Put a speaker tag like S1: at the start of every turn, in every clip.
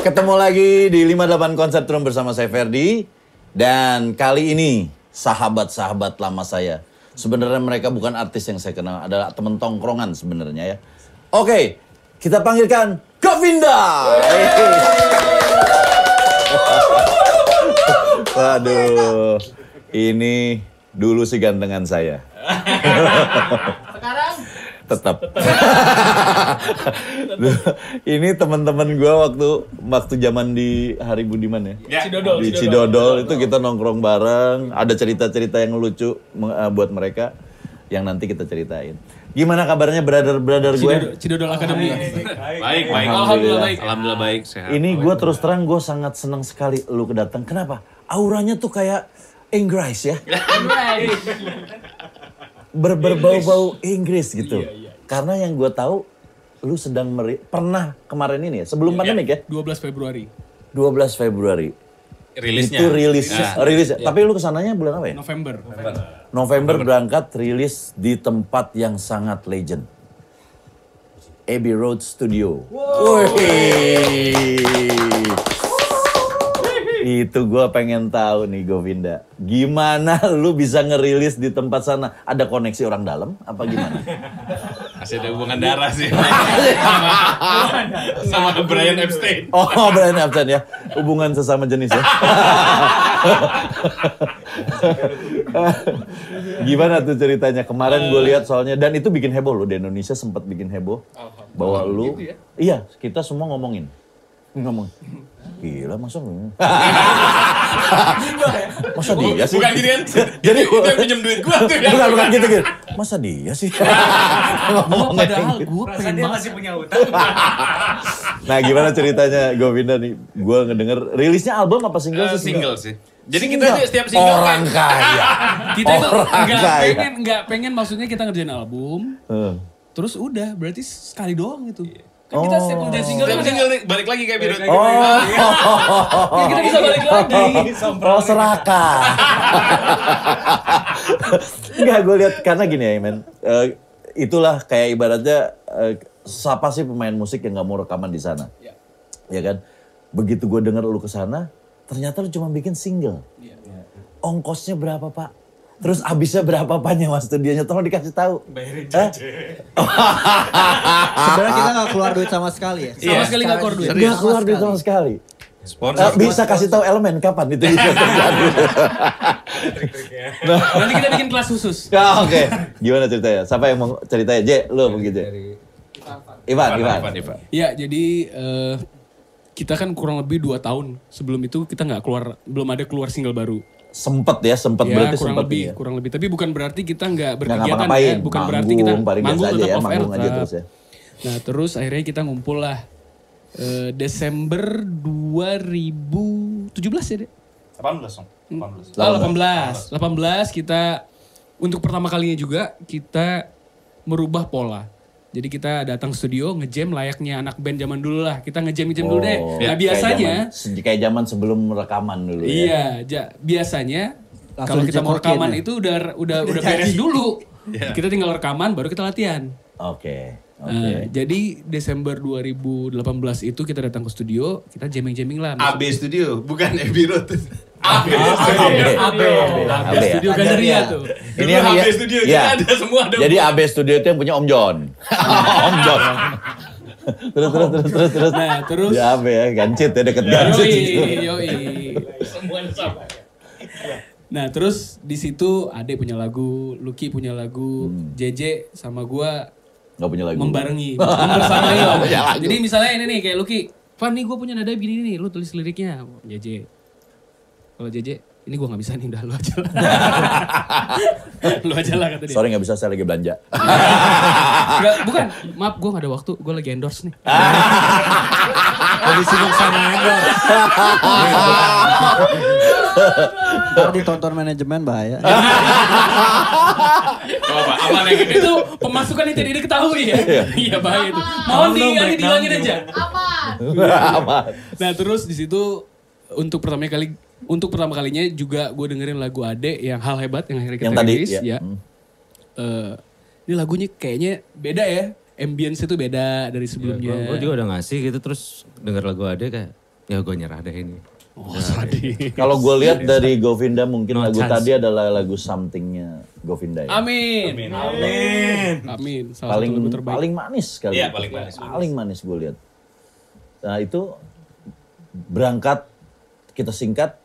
S1: Ketemu lagi di 58 Konsep Room bersama saya Ferdi. Dan kali ini sahabat-sahabat lama saya. Sebenarnya mereka bukan artis yang saya kenal, adalah temen tongkrongan sebenarnya ya. Oke, kita panggilkan Govinda. Waduh, ini dulu sih gandengan saya.
S2: Sekarang
S1: tetap. ini teman-teman gue waktu waktu zaman di Hari Budiman ya.
S3: Ya.
S2: Cidodol,
S1: Di Cidodol itu kita nongkrong bareng, ada cerita-cerita yang lucu me- eh, buat mereka yang nanti kita ceritain. Gimana kabarnya brother-brother gue?
S2: Cidodol,
S1: Oh,
S2: Cidodol Academy.
S1: iya,
S3: Baik, baik.
S1: Alhamdulillah baik.
S3: Alhamdulillah baik, sehat.
S1: Ini gue terus terang gue sangat senang sekali lu kedatang. Kenapa? Auranya tuh kayak Inggris ya. Ber- Berbau-bau Inggris gitu.
S2: Iya,
S1: Karena yang gue tahu lu sedang meri- pernah kemarin ini ya,
S2: Iya.
S1: sebelum pandemik ya,
S2: 12 Februari,
S1: 12 Februari.
S3: Rilisnya.
S1: Itu rilis
S2: Iya.
S1: rilis. Tapi lu kesananya bulan apa ya?
S2: November.
S1: November berangkat rilis di tempat yang sangat legend. Abbey Road Studio. Wih. Itu gue pengen tahu nih Govinda. Gimana lu bisa ngerilis di tempat sana? Ada koneksi orang dalam apa gimana?
S3: Masih ada hubungan darah sih. sama, sama Brian Epstein.
S1: Oh, Brian Epstein ya. Hubungan sesama jenis ya. Gimana tuh ceritanya? Kemarin gue lihat soalnya dan itu bikin heboh loh di Indonesia sempat bikin heboh bahwa
S3: Gitu
S1: lu
S3: ya?
S1: iya, kita semua ngomongin. Ngomong. Gila masa lu? masa dia sih?
S3: ya? Bukan gitu kan?
S1: Jadi
S3: Itu yang pinjem duit gua tuh. ya.
S1: bukan bukan gitu gitu. Masa dia sih? Ngomong kayak
S4: padahal
S1: gitu.
S4: gue pengen
S5: dia
S4: banget
S5: masih punya utang.
S1: Nah gimana ceritanya Govinda nih? Gue ngedenger rilisnya album apa
S3: Eh,
S1: single sih?
S3: single sih. Jadi kita
S1: Single.
S3: tuh setiap single
S1: Orang
S3: kan-
S1: kaya.
S4: kita itu
S1: Orang
S4: nggak
S1: kaya.
S4: pengen nggak pengen maksudnya kita ngerjain album
S1: Heeh.
S4: terus udah berarti sekali doang gitu kan kita setiap ngerjain single
S3: Setiap
S4: kan
S3: single nih, balik lagi kayak Birut.
S1: Oh,
S4: ya kita bisa balik lagi
S1: oh seraka. Enggak, gue lihat karena gini ya, men. Eh, itulah kayak ibaratnya eh, siapa sih pemain musik yang nggak mau rekaman di sana?
S2: Iya.
S1: Ya kan? Begitu gue denger lu ke sana, ternyata lu cuma bikin single.
S3: Iya,
S1: Ongkosnya berapa, Pak? Terus abisnya berapa Pak nyewa studionya? Tolong dikasih tahu.
S5: Bayarin
S1: Hah?
S6: Sebenarnya
S1: Ah,
S6: kita nggak keluar duit sama sekali ya.
S4: sama sekali nggak keluar duit
S1: Nggak keluar duit sama Iya. sekali. Eh,
S3: Sponsor.
S1: bisa kasih tahu elemen kapan itu bisa terjadi.
S4: nanti kita bikin kelas khusus
S1: Ya oke. Gimana ceritanya? Siapa yang mau ceritanya? J, lu mungkin J. Ivan, Ivan.
S3: Ivan, Ivan.
S4: ya jadi eh, kita kan kurang lebih 2 tahun sebelum itu kita nggak keluar belum ada keluar single baru
S1: Sempet ya, sempet
S4: ya
S1: berarti
S4: kurang
S1: sempet
S4: lebih
S1: ya.
S4: kurang lebih tapi bukan berarti kita nggak
S1: Nggak
S4: berkegiatan
S1: ngapa-ngapain,
S4: ya bukan berarti kita
S1: manggung, paling biasa aja ya, manggung aja
S4: tetap.
S1: terus ya.
S4: nah terus akhirnya kita ngumpul lah Eh, Desember 2017 ya
S3: 18
S4: deh
S3: dong. 18.
S4: Oh, 18. 18 kita untuk pertama kalinya juga kita merubah pola. Jadi kita datang studio ngejam layaknya anak band zaman dulu lah. Kita ngejam-ngejam dulu deh.
S1: Oh,
S4: Nah,
S1: kayak
S4: biasanya
S1: zaman- se- kayak zaman sebelum rekaman dulu ya.
S4: iya, ja- biasanya kalau
S6: Langsung
S4: kita mau
S6: dijemukin
S4: rekaman
S6: ya?
S4: itu udah udah udah
S1: Iya,
S4: beres dulu. Kita tinggal rekaman baru kita latihan.
S1: Oke. Oke.
S4: Nah, jadi Desember 2018 itu kita datang ke studio, kita jamming-jamming lah.
S3: AB Studio, bukan ya, AB Road.
S1: Ah.
S3: AB Studio.
S1: AB.
S5: AB.
S1: AB ya.
S4: Studio Gandaria tuh.
S3: Dulu AB Studio, jadi ada semua, ada
S1: Jadi AB Studio itu yang punya Om John. Om John. Nah, terus terus terus terus terus.
S4: Nah, terus-
S1: Ya AB ya, gancit ya deket gancit.
S4: Yoi, yoi.
S3: Semuanya sama.
S4: Nah terus di situ Ade punya lagu, Lucky punya lagu,
S1: Hmm.
S4: JJ sama gua
S1: Gak punya lagu.
S4: membarengi, membersamai lah.
S1: Punya lagu.
S4: Jadi misalnya ini nih kayak Lucky, Van nih gue punya nada begini nih, lu tulis liriknya, JJ. Kalau JJ, ini gua nggak bisa nih, udah lu aja lah. lu aja lah kata dia.
S1: Sorry nggak bisa, saya lagi belanja.
S4: Iya, Nggak, bukan, maaf gua nggak ada waktu, gua lagi endorse nih.
S6: Lebih sibuk sama ego. Kalau ditonton manajemen bahaya.
S1: Iya,
S3: Gak apa aman yang gede.
S4: itu pemasukan yang tidak diketahui ya. Iya bahaya itu. Mohon di, nanti dihilangin aja.
S2: Aman.
S1: Aman.
S4: Nah terus di situ untuk pertama kali untuk pertama kalinya juga gue dengerin lagu Ade yang hal hebat yang akhirnya kita
S1: Yang tadi,
S4: rilis,
S1: ya.
S4: ya.
S1: Hmm.
S4: Eh, ini lagunya kayaknya beda ya. Ambience itu beda dari sebelumnya.
S5: Iya,
S7: Gue juga udah ngasih gitu terus denger lagu Ade kayak
S5: ya gue nyerah deh ini. Nah, gitu.
S4: Oh, sadis.
S1: Kalau gue lihat dari Govinda mungkin
S5: No
S1: lagu
S5: chance.
S1: tadi adalah lagu somethingnya Govinda ya.
S4: Amin. Amin.
S7: Amin.
S4: Salah
S1: Paling
S4: satu lagu terbaik.
S1: paling manis kali.
S7: Iya,
S1: itu.
S7: paling manis,
S1: Paling manis gue lihat. Nah itu berangkat kita singkat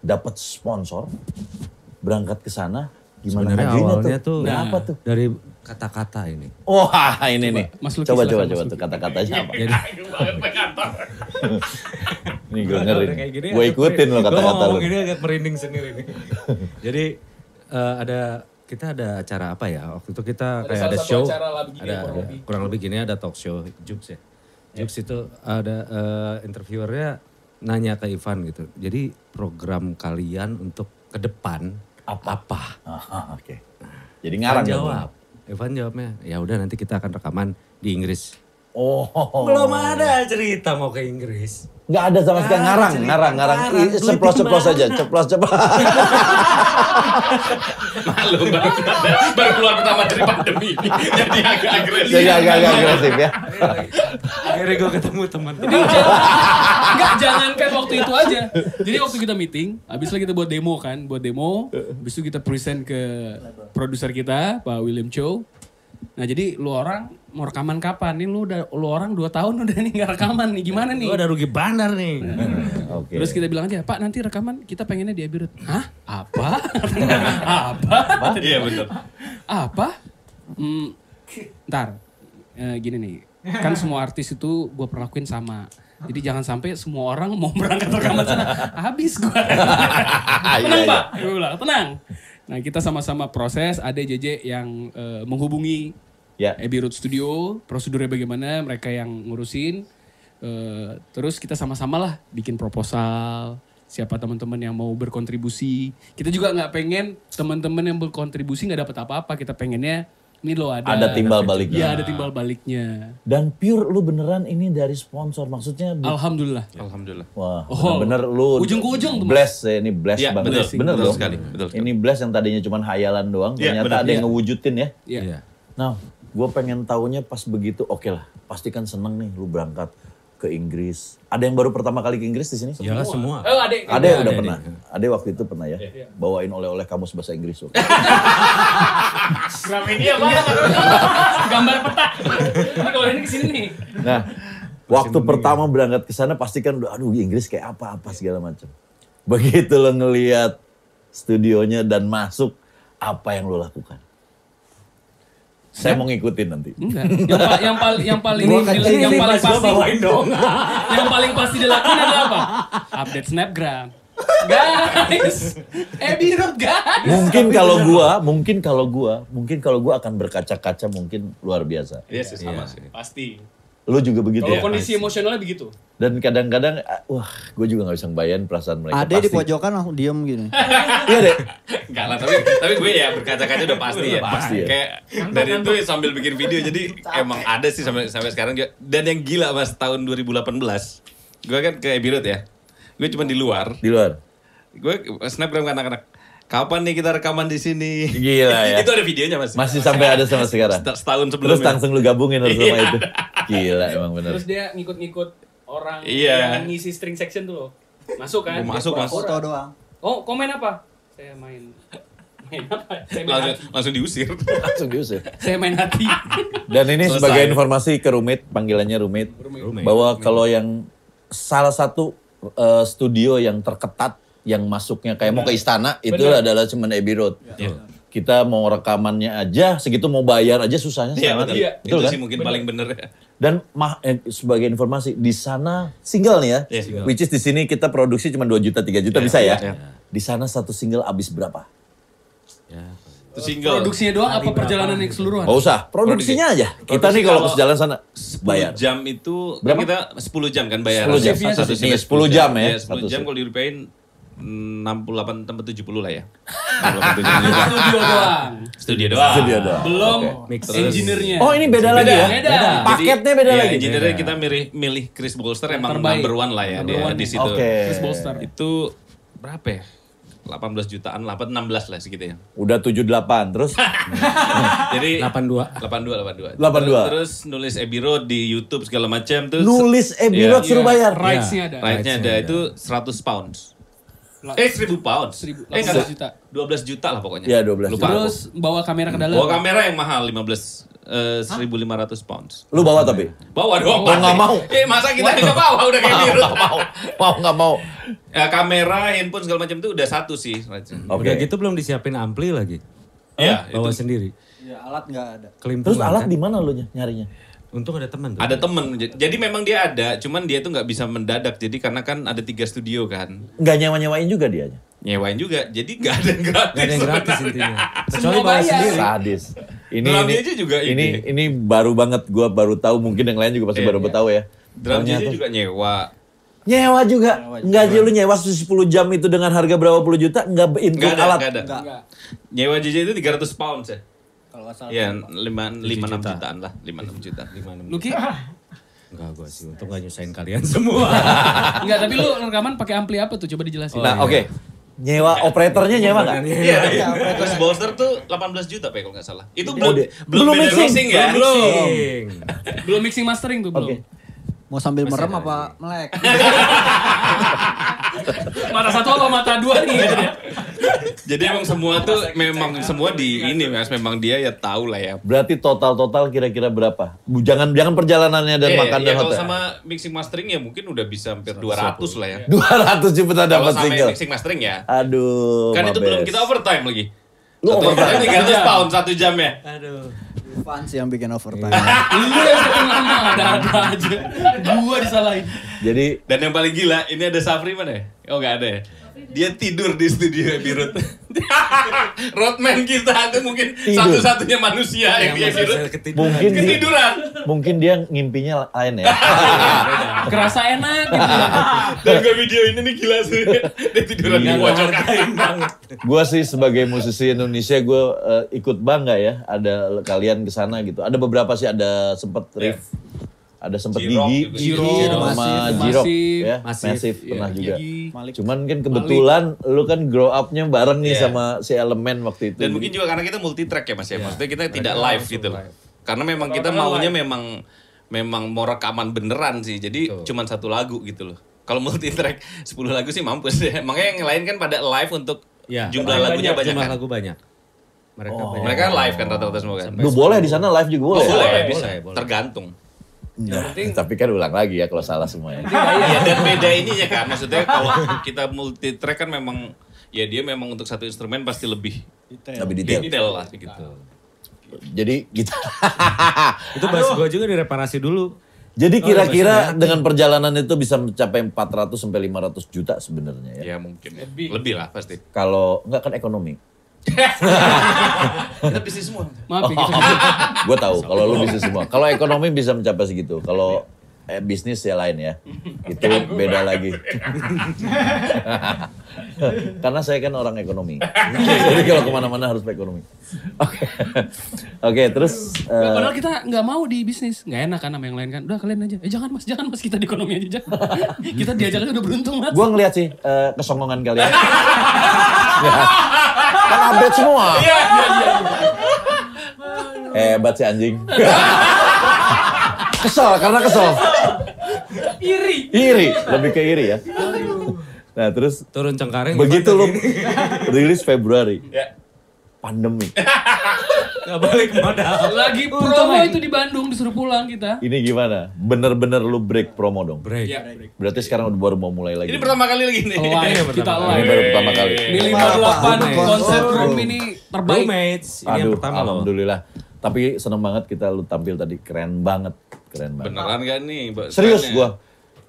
S1: dapat sponsor berangkat ke sana gimana
S5: Sebenarnya
S1: majuinnya
S5: awalnya
S1: tuh?
S5: tuh,
S1: Berapa
S4: nah,
S1: tuh?
S5: dari kata-kata ini.
S1: Wah ini nih.
S4: Mas Luki,
S1: coba
S4: silakan,
S1: coba coba
S4: Mas Luki. Iya,
S1: tuh kata-katanya apa?
S5: Jadi
S1: Nih gue ngeri. Gue ikutin lo kata-kata lo.
S5: lo. Ini agak merinding sendiri nih. Jadi eh, ada kita ada acara apa ya? Waktu itu kita kayak
S2: salah
S5: ada
S2: satu
S5: show.
S2: acara lah begini,
S5: ada
S2: kurang
S5: ada- kurang lebih gini ada talk show Jux ya. Jux itu ada eh, interviewernya nanya ke Ivan gitu. Jadi program kalian untuk ke depan apa?
S1: Ah, Oke. Jadi ngarang ya,
S5: Ivan
S1: dong.
S5: jawab. Ivan jawabnya, ya udah nanti kita akan rekaman di Inggris.
S1: Oh.
S5: Belum ada cerita mau ke Inggris.
S1: Nggak ada sama sekali
S5: Ah,
S1: ngarang,
S5: cerita
S1: ngarang, ngarang.
S5: ngarang.
S1: Ih, Ceplos-ceplos aja, ceplos-ceplos.
S7: Malu baru, baru keluar pertama dari pandemi ini. Jadi agak agresif.
S1: Jadi agak-agak agresif ya.
S5: Akhirnya gue ketemu teman.
S4: Enggak, jangankan waktu itu aja. Jadi waktu kita meeting, habis itu kita buat demo kan, buat demo, habis itu kita present ke produser kita, Pak William Chow. Nah jadi lu orang mau rekaman kapan? Nih lu udah lu orang 2 tahun udah nih nggak rekaman nih gimana nih?
S5: Gue ada rugi bandar nih.
S1: Oke.
S4: Terus kita bilang aja, Pak nanti rekaman kita pengennya di Abirut. Hah? Apa? Apa?
S7: Iya bener.
S4: Apa? Hmm, ntar, Eh, gini nih. Kan semua artis itu gue perlakuin sama. Jadi jangan sampai semua orang mau berangkat rekaman sana. Habis gue. tenang
S1: Iya,
S4: Pak, gue bilang, tenang. Nah kita sama-sama proses, ada JJ yang eh, menghubungi
S1: Ya.
S4: Abbey Road Studio, prosedurnya bagaimana, mereka yang ngurusin. Eh, terus kita sama-sama lah bikin proposal, siapa teman-teman yang mau berkontribusi. Kita juga nggak pengen teman-teman yang berkontribusi nggak dapat apa-apa, kita pengennya ini loh ada.
S1: Ada timbal baliknya.
S4: Iya ada timbal baliknya.
S1: Dan pure lu beneran ini dari sponsor. Maksudnya di-
S4: Alhamdulillah.
S7: Alhamdulillah.
S1: Wah,
S4: Oh.
S1: bener lu
S4: Ujung ke ujung tuh, Mas.
S1: Bless ya, ini bless
S7: Iya,
S1: banget.
S7: betul,
S1: bener
S7: betul
S1: loh.
S7: sekali, betul sekali.
S1: Ini bless yang tadinya cuma hayalan doang,
S7: Iya,
S1: ternyata
S7: bener,
S1: ada yang ngewujudin ya.
S4: Iya.
S5: Iya.
S1: Nah, gue pengen taunya pas begitu, oke lah. Pasti kan seneng nih lu berangkat ke Inggris. Ada yang baru pertama kali ke Inggris di sini?
S5: Iyalah semua.
S4: Oh ada.
S1: Ada yang udah
S5: Ada,
S1: pernah. Ada waktu itu pernah ya. Bawain oleh-oleh kamus bahasa Inggris. waktu itu.
S7: Iya
S4: Gambar peta. Kalau ini kesini nih.
S1: Nah, waktu pertama berangkat ke sana pasti kan udah aduh Inggris kayak apa-apa segala macam. Begitu lo ngeliat studionya dan masuk, apa yang lo lakukan? Saya mau ngikutin nanti.
S4: Enggak. Yang, pa- yang, pal- yang paling
S6: Gua kan- ini-
S4: yang
S6: ini
S4: paling
S6: pas gua
S4: pasti dong. yang paling pasti dilakukan adalah apa? Update snapgram. Guys, Abbey Road guys.
S1: Mungkin kalau gua, mungkin kalau gua, mungkin kalau gua akan berkaca-kaca mungkin luar biasa.
S7: Iya sih sama sih. Pasti.
S1: Lu juga begitu
S4: Kalau
S1: ya?
S4: kondisi emosionalnya begitu.
S1: Dan kadang-kadang, ah, wah, gue juga nggak bisa ngebayangin perasaan mereka.
S6: Ade di
S1: Pasti-
S6: pojokan langsung diem gini.
S1: Iya deh.
S7: Enggak lah, tapi tapi gue ya berkaca-kaca udah pasti ya.
S1: Pasti ya.
S7: Kayak dari itu ya sambil bikin video jadi emang ada sih sampai sampai sekarang juga. Dan yang gila Mas tahun 2018. Gue kan ke Abbey Road ya. Gue cuma di luar.
S1: Di luar.
S7: Gue snapgram ke anak-anak. Kapan nih kita rekaman di sini?
S1: Gila ya.
S7: itu ada videonya Mas.
S1: Masih sampai ada sama sekarang.
S7: Set- setahun sebelumnya. Iya.
S1: Terus langsung lu gabungin harus sama itu. Gila emang bener.
S4: Terus dia ngikut-ngikut orang
S7: Iya.
S4: yang ngisi string section tuh loh. Masuk kan?
S7: Gua masuk,
S4: Dia
S7: Mas.
S6: Foto
S4: orang.
S6: doang.
S4: Oh, komen apa? Saya main main apa? Saya main
S7: langsung
S4: hati.
S7: langsung diusir.
S1: Langsung diusir.
S4: Saya main hati.
S1: Dan ini
S7: Selesai.
S1: sebagai informasi ke Rumit, panggilannya Rumit, bahwa kalau yang salah satu eh, studio yang terketat yang masuknya kayak mau ke istana itu adalah cuman Abbey Road.
S7: Iya.
S1: Kita mau rekamannya aja, segitu mau bayar aja susahnya
S7: Iya,
S1: sama.
S7: betul.
S4: Iya.
S7: Itu
S1: Betul kan?
S7: sih mungkin paling bener ya.
S1: Dan mah, eh, sebagai informasi di sana single nih ya,
S7: Iya, single.
S1: which is di sini kita produksi cuma 2 juta 3 juta bisa ya.
S7: iya.
S1: Di sana satu single habis berapa?
S7: Itu single.
S4: Produksinya doang apa perjalanan yang keseluruhan?
S1: Gak usah, produksinya aja. Kita
S7: Produksi
S1: nih kalau ke
S7: kalau
S1: jalan sana bayar.
S7: jam itu
S1: Berapa?
S7: kan kita 10 jam kan bayar.
S1: 10 jam. Satu shift. 10 jam ya.
S7: Iya, 10
S1: Satu shift.
S7: jam kalau dirupiahin mm, 68 tempat 70 lah ya.
S4: Studio doang.
S7: Studio doang.
S1: Studio doang.
S4: Belum
S7: Eh,
S5: Mix.
S4: eh. engineer-nya.
S1: Oh
S6: Eh,
S1: ini beda, lagi ya?
S4: Beda.
S1: Paketnya beda
S7: Jadi,
S1: lagi. Iya.
S7: ya, engineer-nya kita milih, milih Chris Bolster emang
S4: terbaik.
S7: number one lah ya
S4: Number
S7: dia
S4: one.
S7: di situ.
S1: Oke.
S4: Chris Bolster.
S7: Itu berapa ya? 18 jutaan, 8, 16 lah segitunya.
S1: Udah 78, terus
S7: Jadi
S5: 82.
S7: 82, 82.
S1: 82.
S7: Terus nulis Abbey Road di YouTube segala macam terus
S1: nulis Abbey
S7: Iya.
S1: Road suruh bayar.
S4: Rights-nya ada.
S7: Rightnya ada itu 100 pounds. Eh 1000 pounds.
S4: Seribu-
S7: eh
S4: 18
S7: juta.
S4: juta.
S7: 12 juta lah pokoknya.
S1: Iya, 12
S7: Lupa
S1: juta.
S7: aku.
S4: Terus eh, bawa kamera ke dalam.
S7: bawa kamera yang mahal 15 eh, 1500 pounds.
S1: Lu bawa tapi?
S7: Bawa dong.
S1: Mau nggak
S7: pasti.
S1: mau.
S7: Eh masa kita nggak bawa udah kayak biru.
S1: mau, mau nggak mau.
S7: Ya, kamera, handphone segala macam itu udah satu sih. rightnya.
S1: Oke.
S5: Udah gitu belum disiapin ampli lagi.
S7: Iya, itu.
S5: Bawa sendiri.
S6: Ya, alat nggak ada.
S5: Kelimpungan.
S1: Terus alat
S5: kan?
S1: di mana lu ny- nyarinya?
S5: Untung ada teman tuh.
S7: Ada temen, j- jadi memang dia ada, cuman dia tuh nggak bisa mendadak, jadi karena kan ada tiga studio kan,
S1: Nggak nyewa-nyewain juga dia.
S7: nyewain juga, jadi nggak ada yang gratis.
S5: Gak ada yang gratis
S7: sebenarnya.
S5: intinya.
S4: Semua
S5: Kecuali bawa
S4: bayar.
S5: sendiri.
S1: Sadis. Ini
S7: Dalam
S1: ini,
S7: dia aja juga
S1: ini
S7: ini.
S1: ini baru banget gua baru tahu mungkin yang lain juga pasti
S7: Iya,
S1: baru
S7: iya.
S1: tahu ya.
S7: Drum DJ
S1: Ternyata-
S7: juga nyewa.
S1: Nyewa juga. Enggak aja lu nyewa 10 jam itu dengan harga berapa puluh juta enggak
S7: Nggak
S1: include
S7: ada,
S1: alat.
S7: nggak ada.
S4: Enggak.
S7: Nyewa JJ itu 300 pounds ya.
S6: Kalau nggak salah.
S7: Iya, lima lima enam
S5: juta.
S7: jutaan lah, lima enam juta.
S4: Luki?
S5: Enggak gue sih, untung gak nyusahin kalian semua.
S4: Enggak, tapi lu rekaman pakai ampli apa tuh? Coba dijelasin.
S7: Oh.
S1: Nah, oke. Nyewa operatornya nyewa enggak?
S7: Iya,
S6: iya.
S7: Terus Bolster tuh 18 juta Pak kalau nggak salah. Itu
S1: Belum
S7: belum
S1: di-
S7: belum
S1: Oh, belum
S7: mixing,
S1: mixing,
S7: mixing ya.
S1: belum mixing.
S5: Ting.
S4: Belum mixing mastering tuh, belum.
S1: Oke.
S6: Mau sambil
S7: Masih
S6: merem
S7: ada
S6: apa melek?
S4: Mata satu apa mata dua nih? gitu ya.
S7: Jadi emang semua tuh memang semua
S1: kan?
S7: di ini Mas, memang dia ya tahu lah ya.
S1: Berarti total-total kira-kira berapa? Bu, jangan jangan perjalanannya dan
S7: Iya,
S1: makan
S7: iya,
S1: dan
S7: kalau
S1: hotel.
S7: sama mixing mastering ya mungkin udah bisa hampir 200 lah ya.
S1: 200 juta
S7: Kalau
S1: dapat
S7: sama
S1: single.
S7: mixing mastering ya.
S1: Aduh,
S7: Kan itu
S1: Mabes.
S7: belum kita overtime lagi.
S1: Lu
S7: Satu
S1: overtime. Iya.
S7: overtime 300 pound satu jam ya.
S6: Fans yang bikin overtime.
S1: Iya.
S4: Lu yang sering ngomong ada-ada aja. Gua disalahin.
S1: Jadi
S7: Dan yang paling gila, ini ada Safri mana ya? Oh nggak ada ya? Dia tidur di studio Abbey Road. Roadman kita itu mungkin
S1: Tidur.
S7: satu-satunya manusia yang di
S5: Yang
S7: Abbey
S5: masih
S7: Road.
S5: saya ketiduran.
S1: mungkin di-
S7: Ketiduran.
S1: mungkin dia ngimpinya lain ya.
S4: Kerasa enak gitu.
S7: Dan gue video ini nih gila sih. Dia tiduran
S5: Iya.
S7: di pojokan.
S1: gua sih sebagai musisi Indonesia gue ikut bangga ya ada l- kalian ke sana gitu. Ada beberapa sih ada sempet riff. Ada sempet
S7: Ya. Jirok gitu.
S1: gigi,
S7: juga.
S4: Jirok,
S1: sama
S4: Masif.
S1: Jirok
S4: Masif.
S1: ya,
S5: Masif,
S1: masif
S5: iya.
S1: pernah juga.
S4: Gigi.
S1: Cuman kan kebetulan lu kan grow up-nya bareng nih
S7: Iya.
S1: sama si Elemen waktu itu. gitu.
S7: Dan
S1: Jadi-
S7: mungkin juga karena kita multi track ya Mas ya. Maksudnya kita tidak live gitu loh. Karena memang kita maunya memang memang mau rekaman beneran sih. Jadi cuman satu lagu gitu loh. Kalau multi track 10 lagu sih mampus ya. Makanya yang lain kan pada live untuk
S5: Ya,
S7: jumlah lagunya Iya. banyak,
S5: Jumlah
S7: kan.
S5: lagu banyak. Oh. Mereka banyak.
S7: Mereka live kan rata-rata semua kan. Oh,
S1: Lu boleh di sana live juga boleh.
S7: boleh,
S1: ya?
S7: boleh,
S5: boleh,
S7: bisa.
S5: boleh.
S7: Tergantung.
S1: Nah, tapi kan ulang lagi ya kalau salah semua ya.
S7: Iya, dan beda ini ya kan. Maksudnya kalau kita multi track kan memang ya dia memang untuk satu instrumen pasti lebih
S1: Tapi detail.
S7: detail lah gitu.
S1: Jadi kita
S5: Itu bass gue juga direparasi dulu.
S1: Jadi
S5: Oh,
S1: kira-kira dengan perjalanan itu bisa mencapai 400 sampai 500 juta sebenarnya ya.
S7: Ya mungkin. Lebih lah pasti.
S1: Kalau nggak kan ekonomi.
S7: Kita bisnis semua.
S4: Maaf
S7: Oh.
S4: ya, kita
S1: Gue tahu kalau lu bisnis semua. Kalau ekonomi bisa mencapai segitu. Kalau eh, bisnis ya lain ya. Itu beda lagi. Karena saya kan orang ekonomi. Jadi kalau kemana-mana harus pakai ekonomi. Oke. Oke, terus
S4: Nggak,
S1: eh,
S4: padahal kita nggak mau di bisnis, nggak enak kan sama yang lain kan. Udah kalian aja. Eh jangan mas, jangan mas kita di ekonomi aja jangan. kita diajak aja udah beruntung mas.
S1: Gua ngeliat sih eh, kesongongan kalian. Ya. Kan update semua. Hebat si anjing. kesel karena kesel.
S4: Iri.
S7: Iya.
S1: Iri, lebih ke iri ya. Nah terus
S5: Turun cengkareng.
S1: begitu lu
S5: gimana tuh?
S1: rilis Februari,
S7: Ya.
S1: pandemi.
S5: Nggak balik modal.
S4: Lagi promo itu di Bandung disuruh pulang kita.
S1: Ini gimana? Bener-bener lu break promo dong.
S5: Break.
S1: Berarti sekarang udah baru mau mulai lagi.
S7: Ini pertama kali lagi nih.
S4: Live kita
S1: Ini
S4: live.
S1: baru pertama kali.
S4: Ini
S6: Apa?
S4: 58 konsep
S6: Apa?
S4: room ini terbaik.
S5: Roommates. Ini yang
S1: Aduh,
S5: pertama loh.
S1: alhamdulillah. Tapi seneng banget kita lu tampil tadi, keren banget, keren banget.
S7: Beneran gak nih? Mbak?
S1: Serius
S4: ya.
S7: Tanya.
S1: gua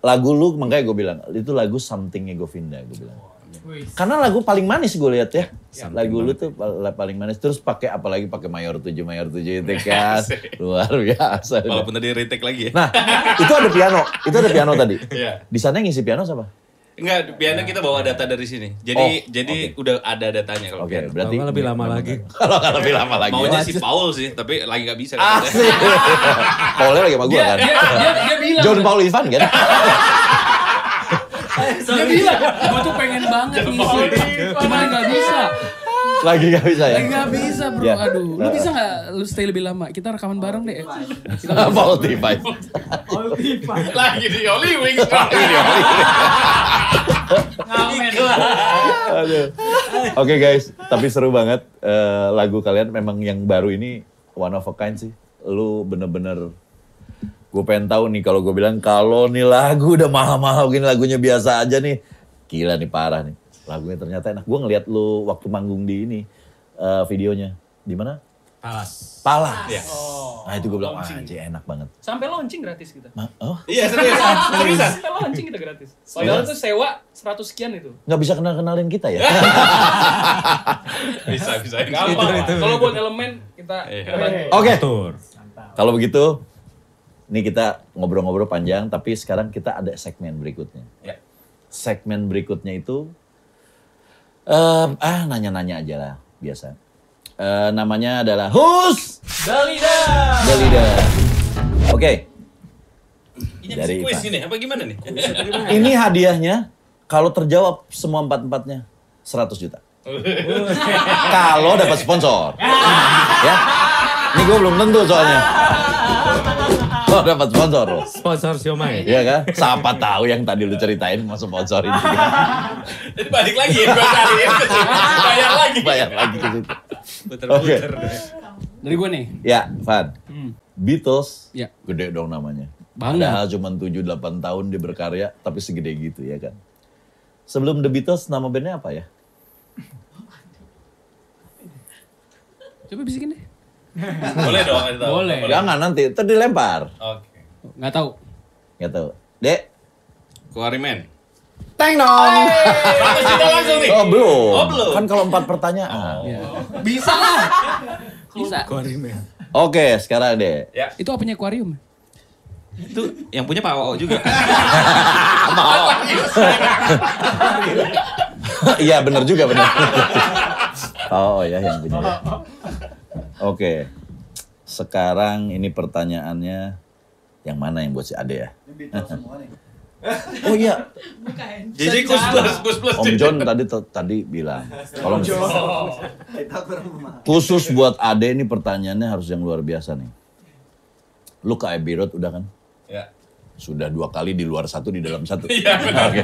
S1: lagu lu makanya gue bilang itu lagu somethingnya Govinda gue bilang.
S4: Oh, iya.
S1: Karena lagu paling manis gue lihat ya. lagu lu tuh pal- paling manis terus pakai apalagi pakai mayor 7 mayor 7 itu kan luar biasa.
S7: Walaupun tadi retake lagi ya.
S1: Nah, itu ada piano, itu ada piano tadi.
S7: Iya.
S1: Di sana yang ngisi piano siapa?
S7: Enggak, piano kita bawa data dari sini. Jadi jadi udah ada datanya kalau
S1: Oke,
S4: Iya,
S7: piano.
S1: berarti
S5: Kalau lebih lama lagi.
S1: Kalau nggak lebih lama lagi.
S7: Maunya si Paul sih, tapi lagi gak bisa. katanya.
S1: Asik.
S4: Iya,
S1: Paulnya lagi sama gue
S4: Dia,
S1: kan.
S4: iya, dia, dia, dia bilang.
S1: John Paul Ivan kan.
S4: Dia bilang, gue tuh pengen banget ngisi. Cuman gak bisa.
S1: Lagi gak bisa ya?
S4: Lagi gak bisa bro,
S1: Ya.
S4: aduh. Lu bisa gak lu stay lebih lama? Kita rekaman bareng deh.
S1: Spotify.
S3: Lagi di Holy Wings.
S1: Aduh. Oke guys, tapi seru banget Eh, lagu kalian memang yang baru ini one of a kind sih. Lu bener-bener gue pengen tahu nih kalau gue bilang kalau nih lagu udah mahal-mahal gini lagunya biasa aja nih. Gila nih parah nih. Lagunya ternyata enak. Gue ngeliat lu waktu manggung di ini eh, videonya. Di mana? Palas. Palas. Nah itu gue bilang, "Wah, anjir enak banget.
S8: Sampai launching gratis kita.
S1: Ma- oh,
S3: Iya serius.
S4: Ah,
S3: Seriusan.
S8: Sampai launching kita gratis. Padahal itu sewa 100 sekian itu.
S1: nggak bisa kenal-kenalin kita ya?
S7: Bisa, bisa.
S8: Gampang lah. Kalau buat elemen kita
S7: Iya.
S8: kita bantu.
S1: Oke. Kalau begitu, ini kita ngobrol-ngobrol panjang, tapi sekarang kita ada segmen berikutnya.
S7: Ya.
S1: Segmen berikutnya itu, eh ah nanya-nanya aja lah biasa. Eh, namanya adalah Hus
S8: Dalida.
S1: the Leader. Oke,
S7: Ini
S1: Dari
S7: kuis
S1: Ivan.
S7: ini apa gimana nih?
S1: ini hadiahnya kalau terjawab semua empat-empatnya 100 juta. kalau dapat sponsor. ya. Ini gue belum tentu soalnya. Kalau dapat sponsor loh.
S5: Sponsor siomay.
S1: Iya kan? Siapa tahu yang tadi lu ceritain mau sponsor ini.
S7: Jadi balik lagi ya, gue cariin. Bayar lagi.
S1: Bayar lagi ke situ. Oke.
S7: Puter-puter.
S4: Dari gue nih.
S1: Ya, Van. Beatles,
S4: Hmm. Ya.
S1: gede dong namanya.
S4: Banget.
S1: Padahal cuma 7-8 tahun dia berkarya, tapi segede gitu ya kan. Sebelum The Beatles, nama bandnya apa ya?
S4: Coba bisikin deh.
S7: Boleh dong. kasih tahu.
S4: Boleh.
S1: Jangan nanti, ntar dilempar.
S7: Oke.
S4: Gak tahu.
S1: Gak tahu. Dek,
S7: Kuarimen.
S1: teng dong.
S7: Bagus sudah langsung nih.
S1: Oh belum. Oh, iya.
S7: Oh, belum.
S1: Kan kalau empat pertanyaan.
S4: Ya. Bisa lah. Bisa.
S1: Oke, sekarang deh.
S4: Itu apanya akuarium?
S7: Itu yang punya Pak Oo juga.
S1: Iya benar juga benar. oh ya yang punya. ya. Oke. Sekarang ini pertanyaannya yang mana yang buat si Ade ya? Oh iya,
S7: Jadi kus plus, kus plus.
S1: Om John tadi tadi bilang kalau khusus buat Ade ini pertanyaannya harus yang luar biasa nih. Lu ke Abbey Road udah kan?
S7: Ya.
S1: Sudah dua kali di luar satu di dalam satu.
S7: Iya, benar.
S1: Oke.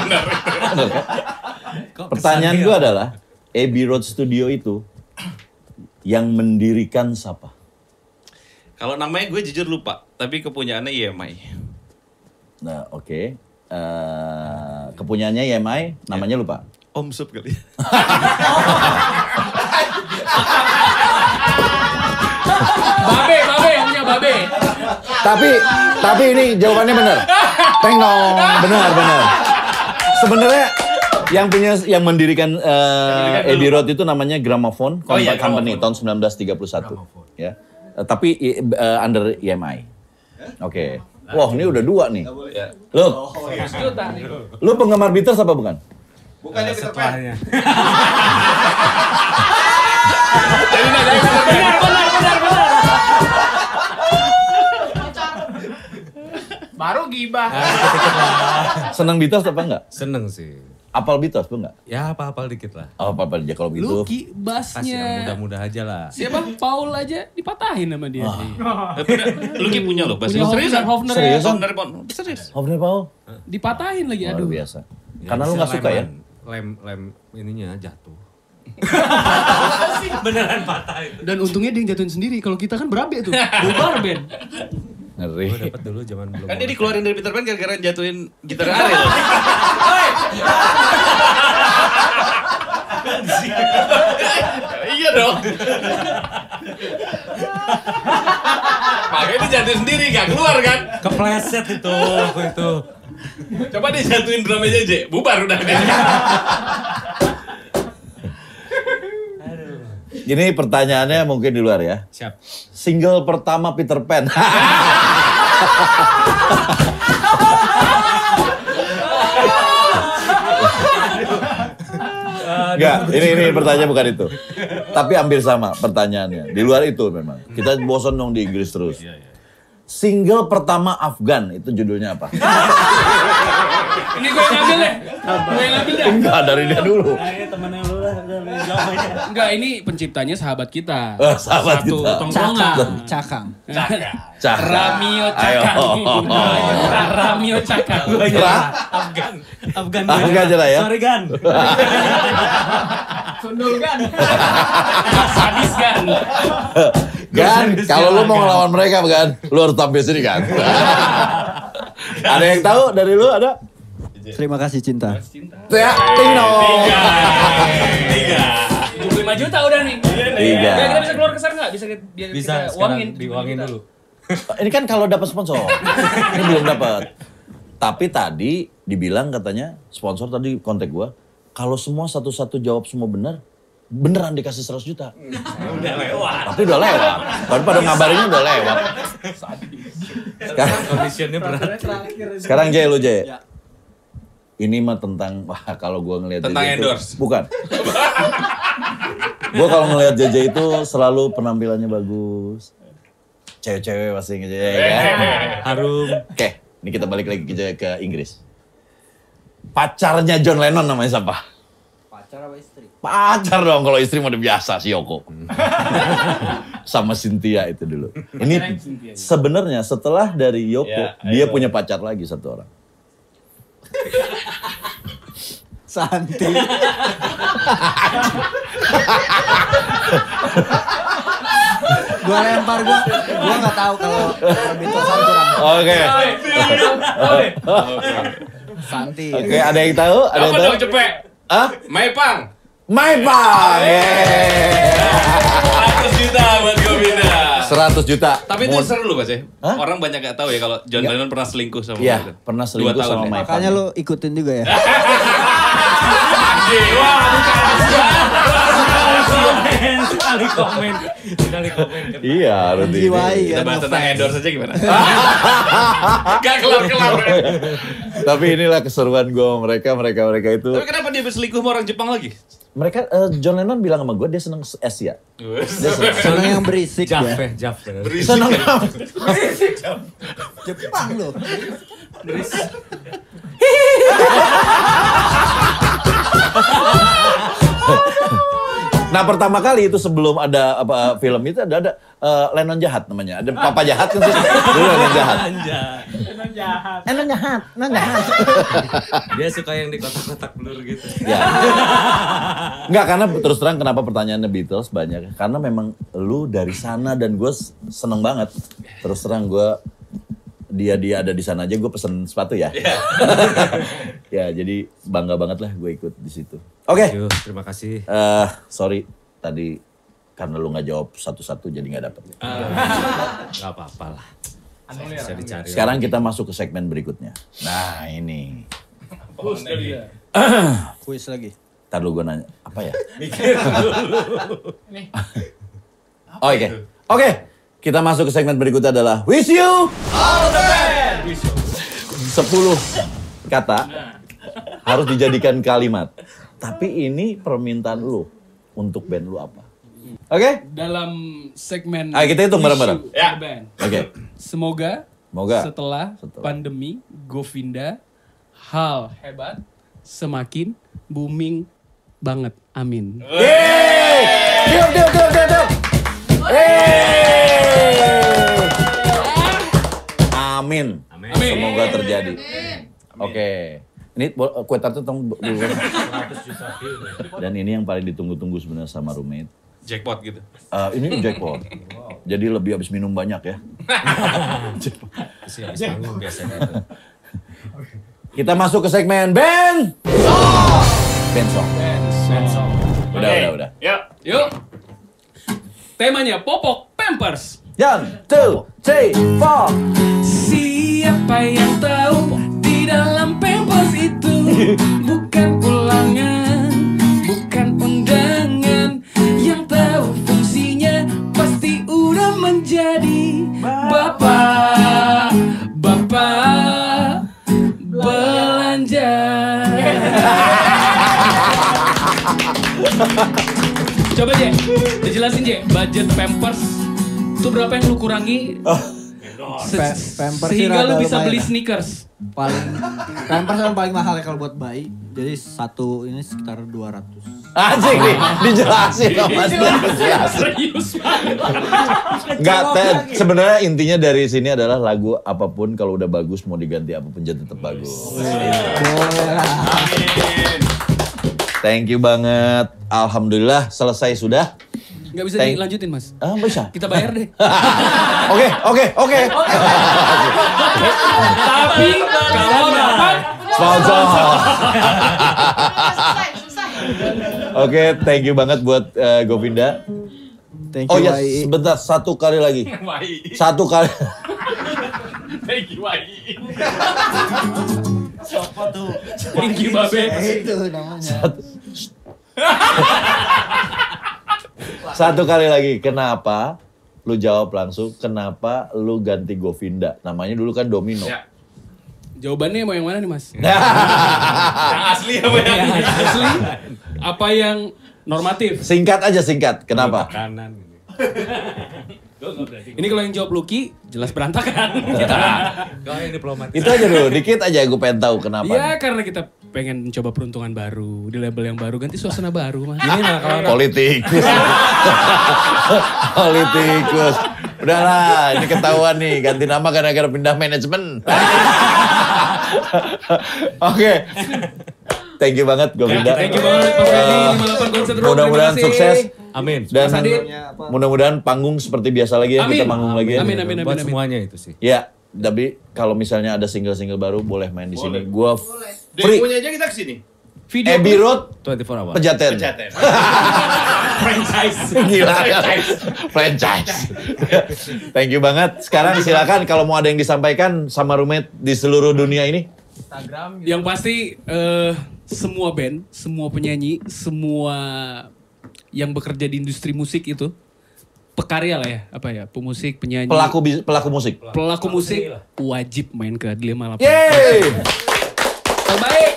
S1: Benar kan? Pertanyaan gue adalah Abbey Road Studio itu yang mendirikan siapa?
S7: Kalau namanya gue jujur lupa, tapi kepunyaannya E IMI.
S1: Nah, oke. Eh, kepunyaannya YMI, namanya lupa.
S7: Om Sup kali.
S4: Babe, babe, omnya babe.
S1: Tapi tapi ini jawabannya benar. Teng dong, benar benar. Sebenarnya yang punya yang mendirikan eh
S7: mendirikan
S1: Abbey
S7: dulu.
S1: Road itu namanya Gramophone
S7: Oh
S1: Compact
S7: iya,
S1: Company tahun
S7: Gramophone.
S1: 1931. Ya. Eh, tapi i- eh, under EMI. Oke. Wah, ini udah dua nih.
S7: Ya.
S1: Lu,
S8: Juta nih.
S1: lu penggemar Beatles apa bukan?
S3: Bukannya Peter Pan.
S8: Benar, benar, benar, benar. Baru gibah.
S1: Senang Beatles apa enggak?
S5: Seneng sih.
S1: Apal Beatles apa enggak?
S5: Ya apa-apa dikit lah.
S1: Oh, apa aja kalau gitu.
S4: Lu ki
S5: Kasih yang
S4: basnya.
S5: mudah-mudah aja lah.
S4: Siapa? Paul aja dipatahin sama dia. Iya.
S7: Luki punya loh, bahasa
S4: Punya Hofner, Hofner ya.
S1: Serius?
S7: Hofner, Hofner, Serius.
S1: Hovni Oh, Paul.
S4: Dipatahin lagi,
S1: Luar
S4: aduh.
S1: biasa.
S5: Ya,
S1: Karena lu
S5: bisa
S1: nggak suka ya?
S5: leman. Lem lem ininya jatuh.
S4: Dan untungnya dia yang jatuhin sendiri. Kalau kita kan berabe tuh. Bubar band.
S1: Ngeri.
S5: Gue dapet dulu zaman belum.
S7: Kan dia dikeluarin dari Peter Pan gara-gara jatuhin gitar Ariel. iya dong. Makanya dia jatuhin sendiri, gak keluar kan?
S5: Kepleset itu waktu itu.
S7: Coba dia jatuhin drumnya JJ, bubar udah.
S1: Ini pertanyaannya mungkin di luar ya.
S5: Siap.
S1: Single pertama Peter Pan. Enggak, ini ini pertanyaan bukan itu. Tapi hampir sama pertanyaannya. Di luar itu memang. Kita bosan dong di Inggris terus. Single pertama Afgan itu judulnya apa?
S4: Ini gue yang ngambil deh. Gue yang ngambil ya? deh.
S1: Enggak dari dia dulu.
S9: Akhirnya temennya lu lah, udah lu jawab aja.
S4: Enggak, ini penciptanya sahabat kita.
S1: Eh, sahabat
S4: Satu
S1: kita.
S4: tongkrongan.
S6: Cakang, cakang.
S1: Cak.
S4: Ramio Iya,
S1: Ayo. Iya,
S4: Cakang. Ramio Cakang. Gua aja.
S1: Ra,
S9: Afgan. Afgan.
S1: Afgan aja lah ya.
S9: Sorry Gan.
S8: Sundul kan.
S4: Sadis kan.
S1: Gan, kalau lu mau ngelawan mereka kan, lu harus tampil sini kan. ada yang tahu dari lu ada? Iya.
S6: Terima kasih cinta.
S1: Ya, Tino.
S8: Lima juta udah nih.
S1: Tiga.
S8: Biar kita bisa keluar kesar nggak? Bisa kita biar
S9: Bisa
S8: kita
S9: sekarang
S8: uangin.
S9: diwangin dulu.
S1: Ini kan kalau dapat sponsor. Ini belum dapat. Tapi tadi dibilang katanya sponsor tadi kontak gua, kalau semua satu-satu jawab semua benar, beneran dikasih 100 juta.
S9: Udah lewat.
S1: Tapi udah lewat. Baru pada ngabarinnya udah lewat. Sekarang,
S5: Conditionnya berat.
S1: sekarang Jay lu Jay.
S7: Ya.
S1: Ini mah tentang wah kalau gua ngelihat
S7: Tentang
S1: JJ itu-
S7: endorse.
S1: bukan. gua kalau ngelihat JJ itu selalu penampilannya bagus. Cewek-cewek pasti ngeje ya kan.
S5: Eh, Harum.
S1: Oke, ini kita balik lagi ke, ke Inggris. Pacarnya John Lennon namanya siapa?
S6: Pacar apa istri?
S1: Pacar dong kalau istri mah udah biasa si Yoko. Sama Cynthia itu dulu. Ini sebenarnya setelah dari Yoko,
S3: Ya,
S1: dia
S3: ayo.
S1: punya pacar lagi satu orang.
S6: Santi. gua lempar gua, gua nggak tahu kalau Bintang Santurang.
S1: Oke.
S6: Santi.
S1: Oke, ada yang tahu? Ada
S7: Apa
S1: yang tahu?
S7: dong cepet?
S1: Hah?
S7: Maipang.
S1: My Pang! Yeay.
S7: 100 juta buat gue pindah.
S1: 100 juta.
S7: Tapi itu
S1: Mon-
S7: seru loh mas ya.
S1: Hah?
S7: Orang banyak gak tahu ya kalau John
S1: Iya.
S7: Lennon pernah selingkuh sama
S1: Iya,
S7: orang itu.
S1: pernah
S7: Dua
S1: selingkuh
S7: tahun
S1: sama
S7: ya.
S1: Mike.
S6: Makanya lu ikutin juga ya.
S7: Anjing, wah,
S9: Komen, sekali komen. Sekali komen.
S1: Iya, harus di-
S6: Jiwai
S7: Kita
S6: kan.
S7: bahas tentang endorse aja gimana? Gak kelar-kelar.
S1: Tapi inilah keseruan gue sama mereka, mereka mereka itu.
S7: Tapi kenapa dia berselingkuh sama orang Jepang lagi?
S1: Mereka eh, John Lennon bilang sama gue dia seneng ya. Asia. Dia seneng.
S6: Seneng yang
S4: Iya.
S6: berisik ya.
S5: Jaffe, Jaffe.
S1: seneng
S6: Jepang lu.
S1: nah pertama kali itu sebelum ada apa film itu ada ada eh, Lennon jahat namanya. Ada Papa jahat kan sih. Dulu Lennon jahat.
S6: Eh,
S1: Lennon jahat. Lennon jahat.
S5: Dia suka yang di kotak-kotak blur gitu.
S1: Ya. Enggak karena terus terang kenapa pertanyaannya Beatles banyak karena memang lu dari sana dan gue seneng banget. Terus terang gue dia dia ada di sana aja gue pesen sepatu ya. ya jadi bangga banget lah gue ikut di situ. Oke.
S5: Yuk, terima kasih.
S1: Eh, sorry tadi karena lu nggak jawab satu-satu jadi nggak dapet.
S5: Gak apa-apa lah. Bisa dicari.
S1: Sekarang kita masuk ke segmen berikutnya. Nah ini.
S6: Kuis lagi.
S1: Ntar dulu gue nanya, apa ya? Oh, Oke, oke. Kita masuk ke segmen berikutnya adalah Wish You All the Best. Sepuluh kata harus dijadikan kalimat. Tapi ini permintaan lu untuk band lu apa? Oke,
S4: Dalam segmen
S1: Ayo, kita hitung bareng-bareng.
S4: issue of the band.
S1: oke.
S4: Semoga,
S1: Semoga.
S4: setelah,
S1: Setelah.
S4: pandemi Govinda hal hebat semakin booming banget. Amin.
S1: Yeay! Tiup, tiup, tiup, tiup, tiup. Yeay! Amin.
S5: Amin.
S1: Semoga terjadi. Oke. Ini bo- kue tart itu tolong bo- dulu. Dan ini yang paling ditunggu-tunggu sebenarnya sama roommate.
S7: Jackpot gitu.
S1: Eh, ini jackpot. Jadi lebih habis minum banyak ya.
S5: Sih, habis bangun biasanya.
S1: Kita masuk ke segmen Ben. Ben song. Udah, udah, udah.
S4: Yuk. Temanya popok Pampers.
S1: One, two, three, four.
S4: Siapa yang tahu di dalam Pampers itu bukan ulangan, bukan undangan. Yang tahu fungsinya pasti udah menjadi bapak, bapak belanja.
S7: Oh.
S4: Coba Jek, dijelasin Jek, budget Pampers itu berapa yang lu kurangi
S6: Pe- Pampers sih
S4: Sehingga lu
S6: rada
S4: bisa
S6: lumayan
S4: beli
S6: lah.
S4: sneakers.
S6: paling Pampers yang paling mahal ya kalau buat bayi. Jadi satu ini sekitar 200.
S1: Asik nih, dijelasin sama Mas Dun. Dijelasin.
S4: Serius banget.
S1: Enggak, Ted. Sebenarnya intinya dari sini adalah lagu apapun kalau udah bagus mau diganti apapun jadi tetap bagus.
S6: Boleh lah.
S1: Thank you banget. Alhamdulillah selesai sudah.
S4: Gak bisa
S1: Thank-
S4: dilanjutin mas.
S1: Ah, bisa.
S4: Kita bayar deh.
S1: Oke, oke, oke.
S4: Tapi kalau dapat
S1: Sponsor.
S2: Selesai, selesai.
S1: Oke, thank you banget buat eh, Govinda.
S6: Thank
S1: Oh
S6: you
S1: ya,
S6: YI.
S1: sebentar satu kali lagi. Satu kali.
S4: thank you babe.
S6: Itu namanya.
S1: Satu kali lagi. Kenapa? Lu jawab langsung. Kenapa lu ganti Govinda? Namanya dulu kan Domino.
S7: Ya.
S4: Jawabannya mau yang mana nih mas?
S7: Yang asli apa yang
S4: Asli? Apa yang normatif?
S1: Singkat aja singkat.
S4: Hmm.
S1: Kenapa?
S5: Kanan ini.
S4: Ini kalau yang jawab Lucky jelas berantakan. Kita.
S5: Kalau yang diplomatis.
S1: Itu aja dulu. Dikit aja gue pengen tahu
S4: Ya
S1: kenapa.
S4: karena kita pengen mencoba peruntungan baru di label yang baru ganti suasana baru mas. Iya.
S5: Ini mah kalau
S1: Politikus. Politikus. Udahlah, ini ketahuan nih. Ganti nama gara-gara pindah manajemen. Oke. Thank you banget Govinda.
S4: Thank you banget Mas Randy,
S1: Eh,
S4: 58 Concert Room.
S1: Mudah-mudahan
S4: Terima kasih.
S1: sukses.
S5: Amin.
S1: Dan
S4: Mas Adit.
S1: mudah-mudahan panggung seperti biasa lagi ya. Kita
S4: Amin.
S1: manggung lagi ya.
S4: Amin, amin, amin,
S5: Buat
S4: amin.
S5: semuanya itu sih.
S1: Ya, tapi kalau misalnya ada single-single baru boleh main di sini.
S3: Boleh.
S1: Gua f- free.
S3: Demonya aja kita kesini. ya.
S4: Video
S1: Abbey Road
S5: 24 hours.
S1: Pejaten.
S3: Pejaten.
S9: franchise
S1: Gila. Franchise. Thank you banget. Sekarang silakan kalau mau ada yang disampaikan sama roommate di seluruh dunia ini.
S4: Yang pasti eh, semua band, semua penyanyi, semua yang bekerja di industri musik itu pekarya lah ya, apa ya, pemusik, penyanyi,
S1: Pelaku bis- pelaku musik.
S4: pelaku musik wajib main ke Dilema 8.
S1: Yeay.
S4: Terbaik.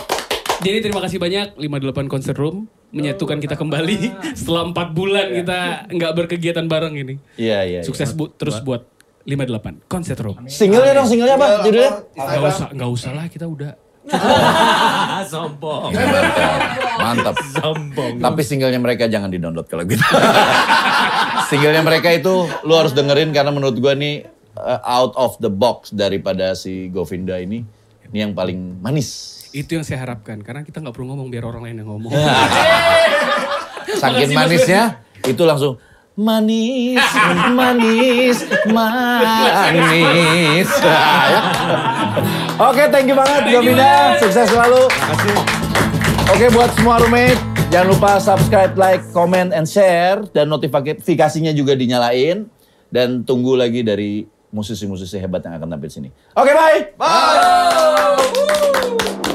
S4: Jadi terima kasih banyak 58 Concert Room
S5: Oh,
S4: menyatukan kita kembali setelah 4
S5: Iya.
S4: bulan kita nggak berkegiatan bareng ini.
S1: Iya, iya. iya.
S4: Sukses bu- terus buat 58 Concert Room.
S1: Singlenya dong, singlenya apa judulnya?
S4: Nggak usah, nggak usah lah kita udah Iya.
S5: Ah, sombong.
S1: Mantap.
S5: Sombong.
S1: Tapi singlenya mereka jangan di download kalau gitu. singlenya mereka itu lu harus dengerin karena menurut gua nih uh, out of the box daripada si Govinda ini ini yang paling manis.
S4: itu yang saya harapkan karena kita nggak perlu ngomong biar orang lain yang ngomong.
S1: Saking manisnya itu langsung manis, manis, manis. Oke, thank you banget Govinda. Sukses selalu. Oke, buat semua roommate, jangan lupa subscribe, like, comment, and share. Dan notifikasinya juga dinyalain. Dan tunggu lagi dari musisi-musisi hebat yang akan tampil sini. Oke, bye! Bye!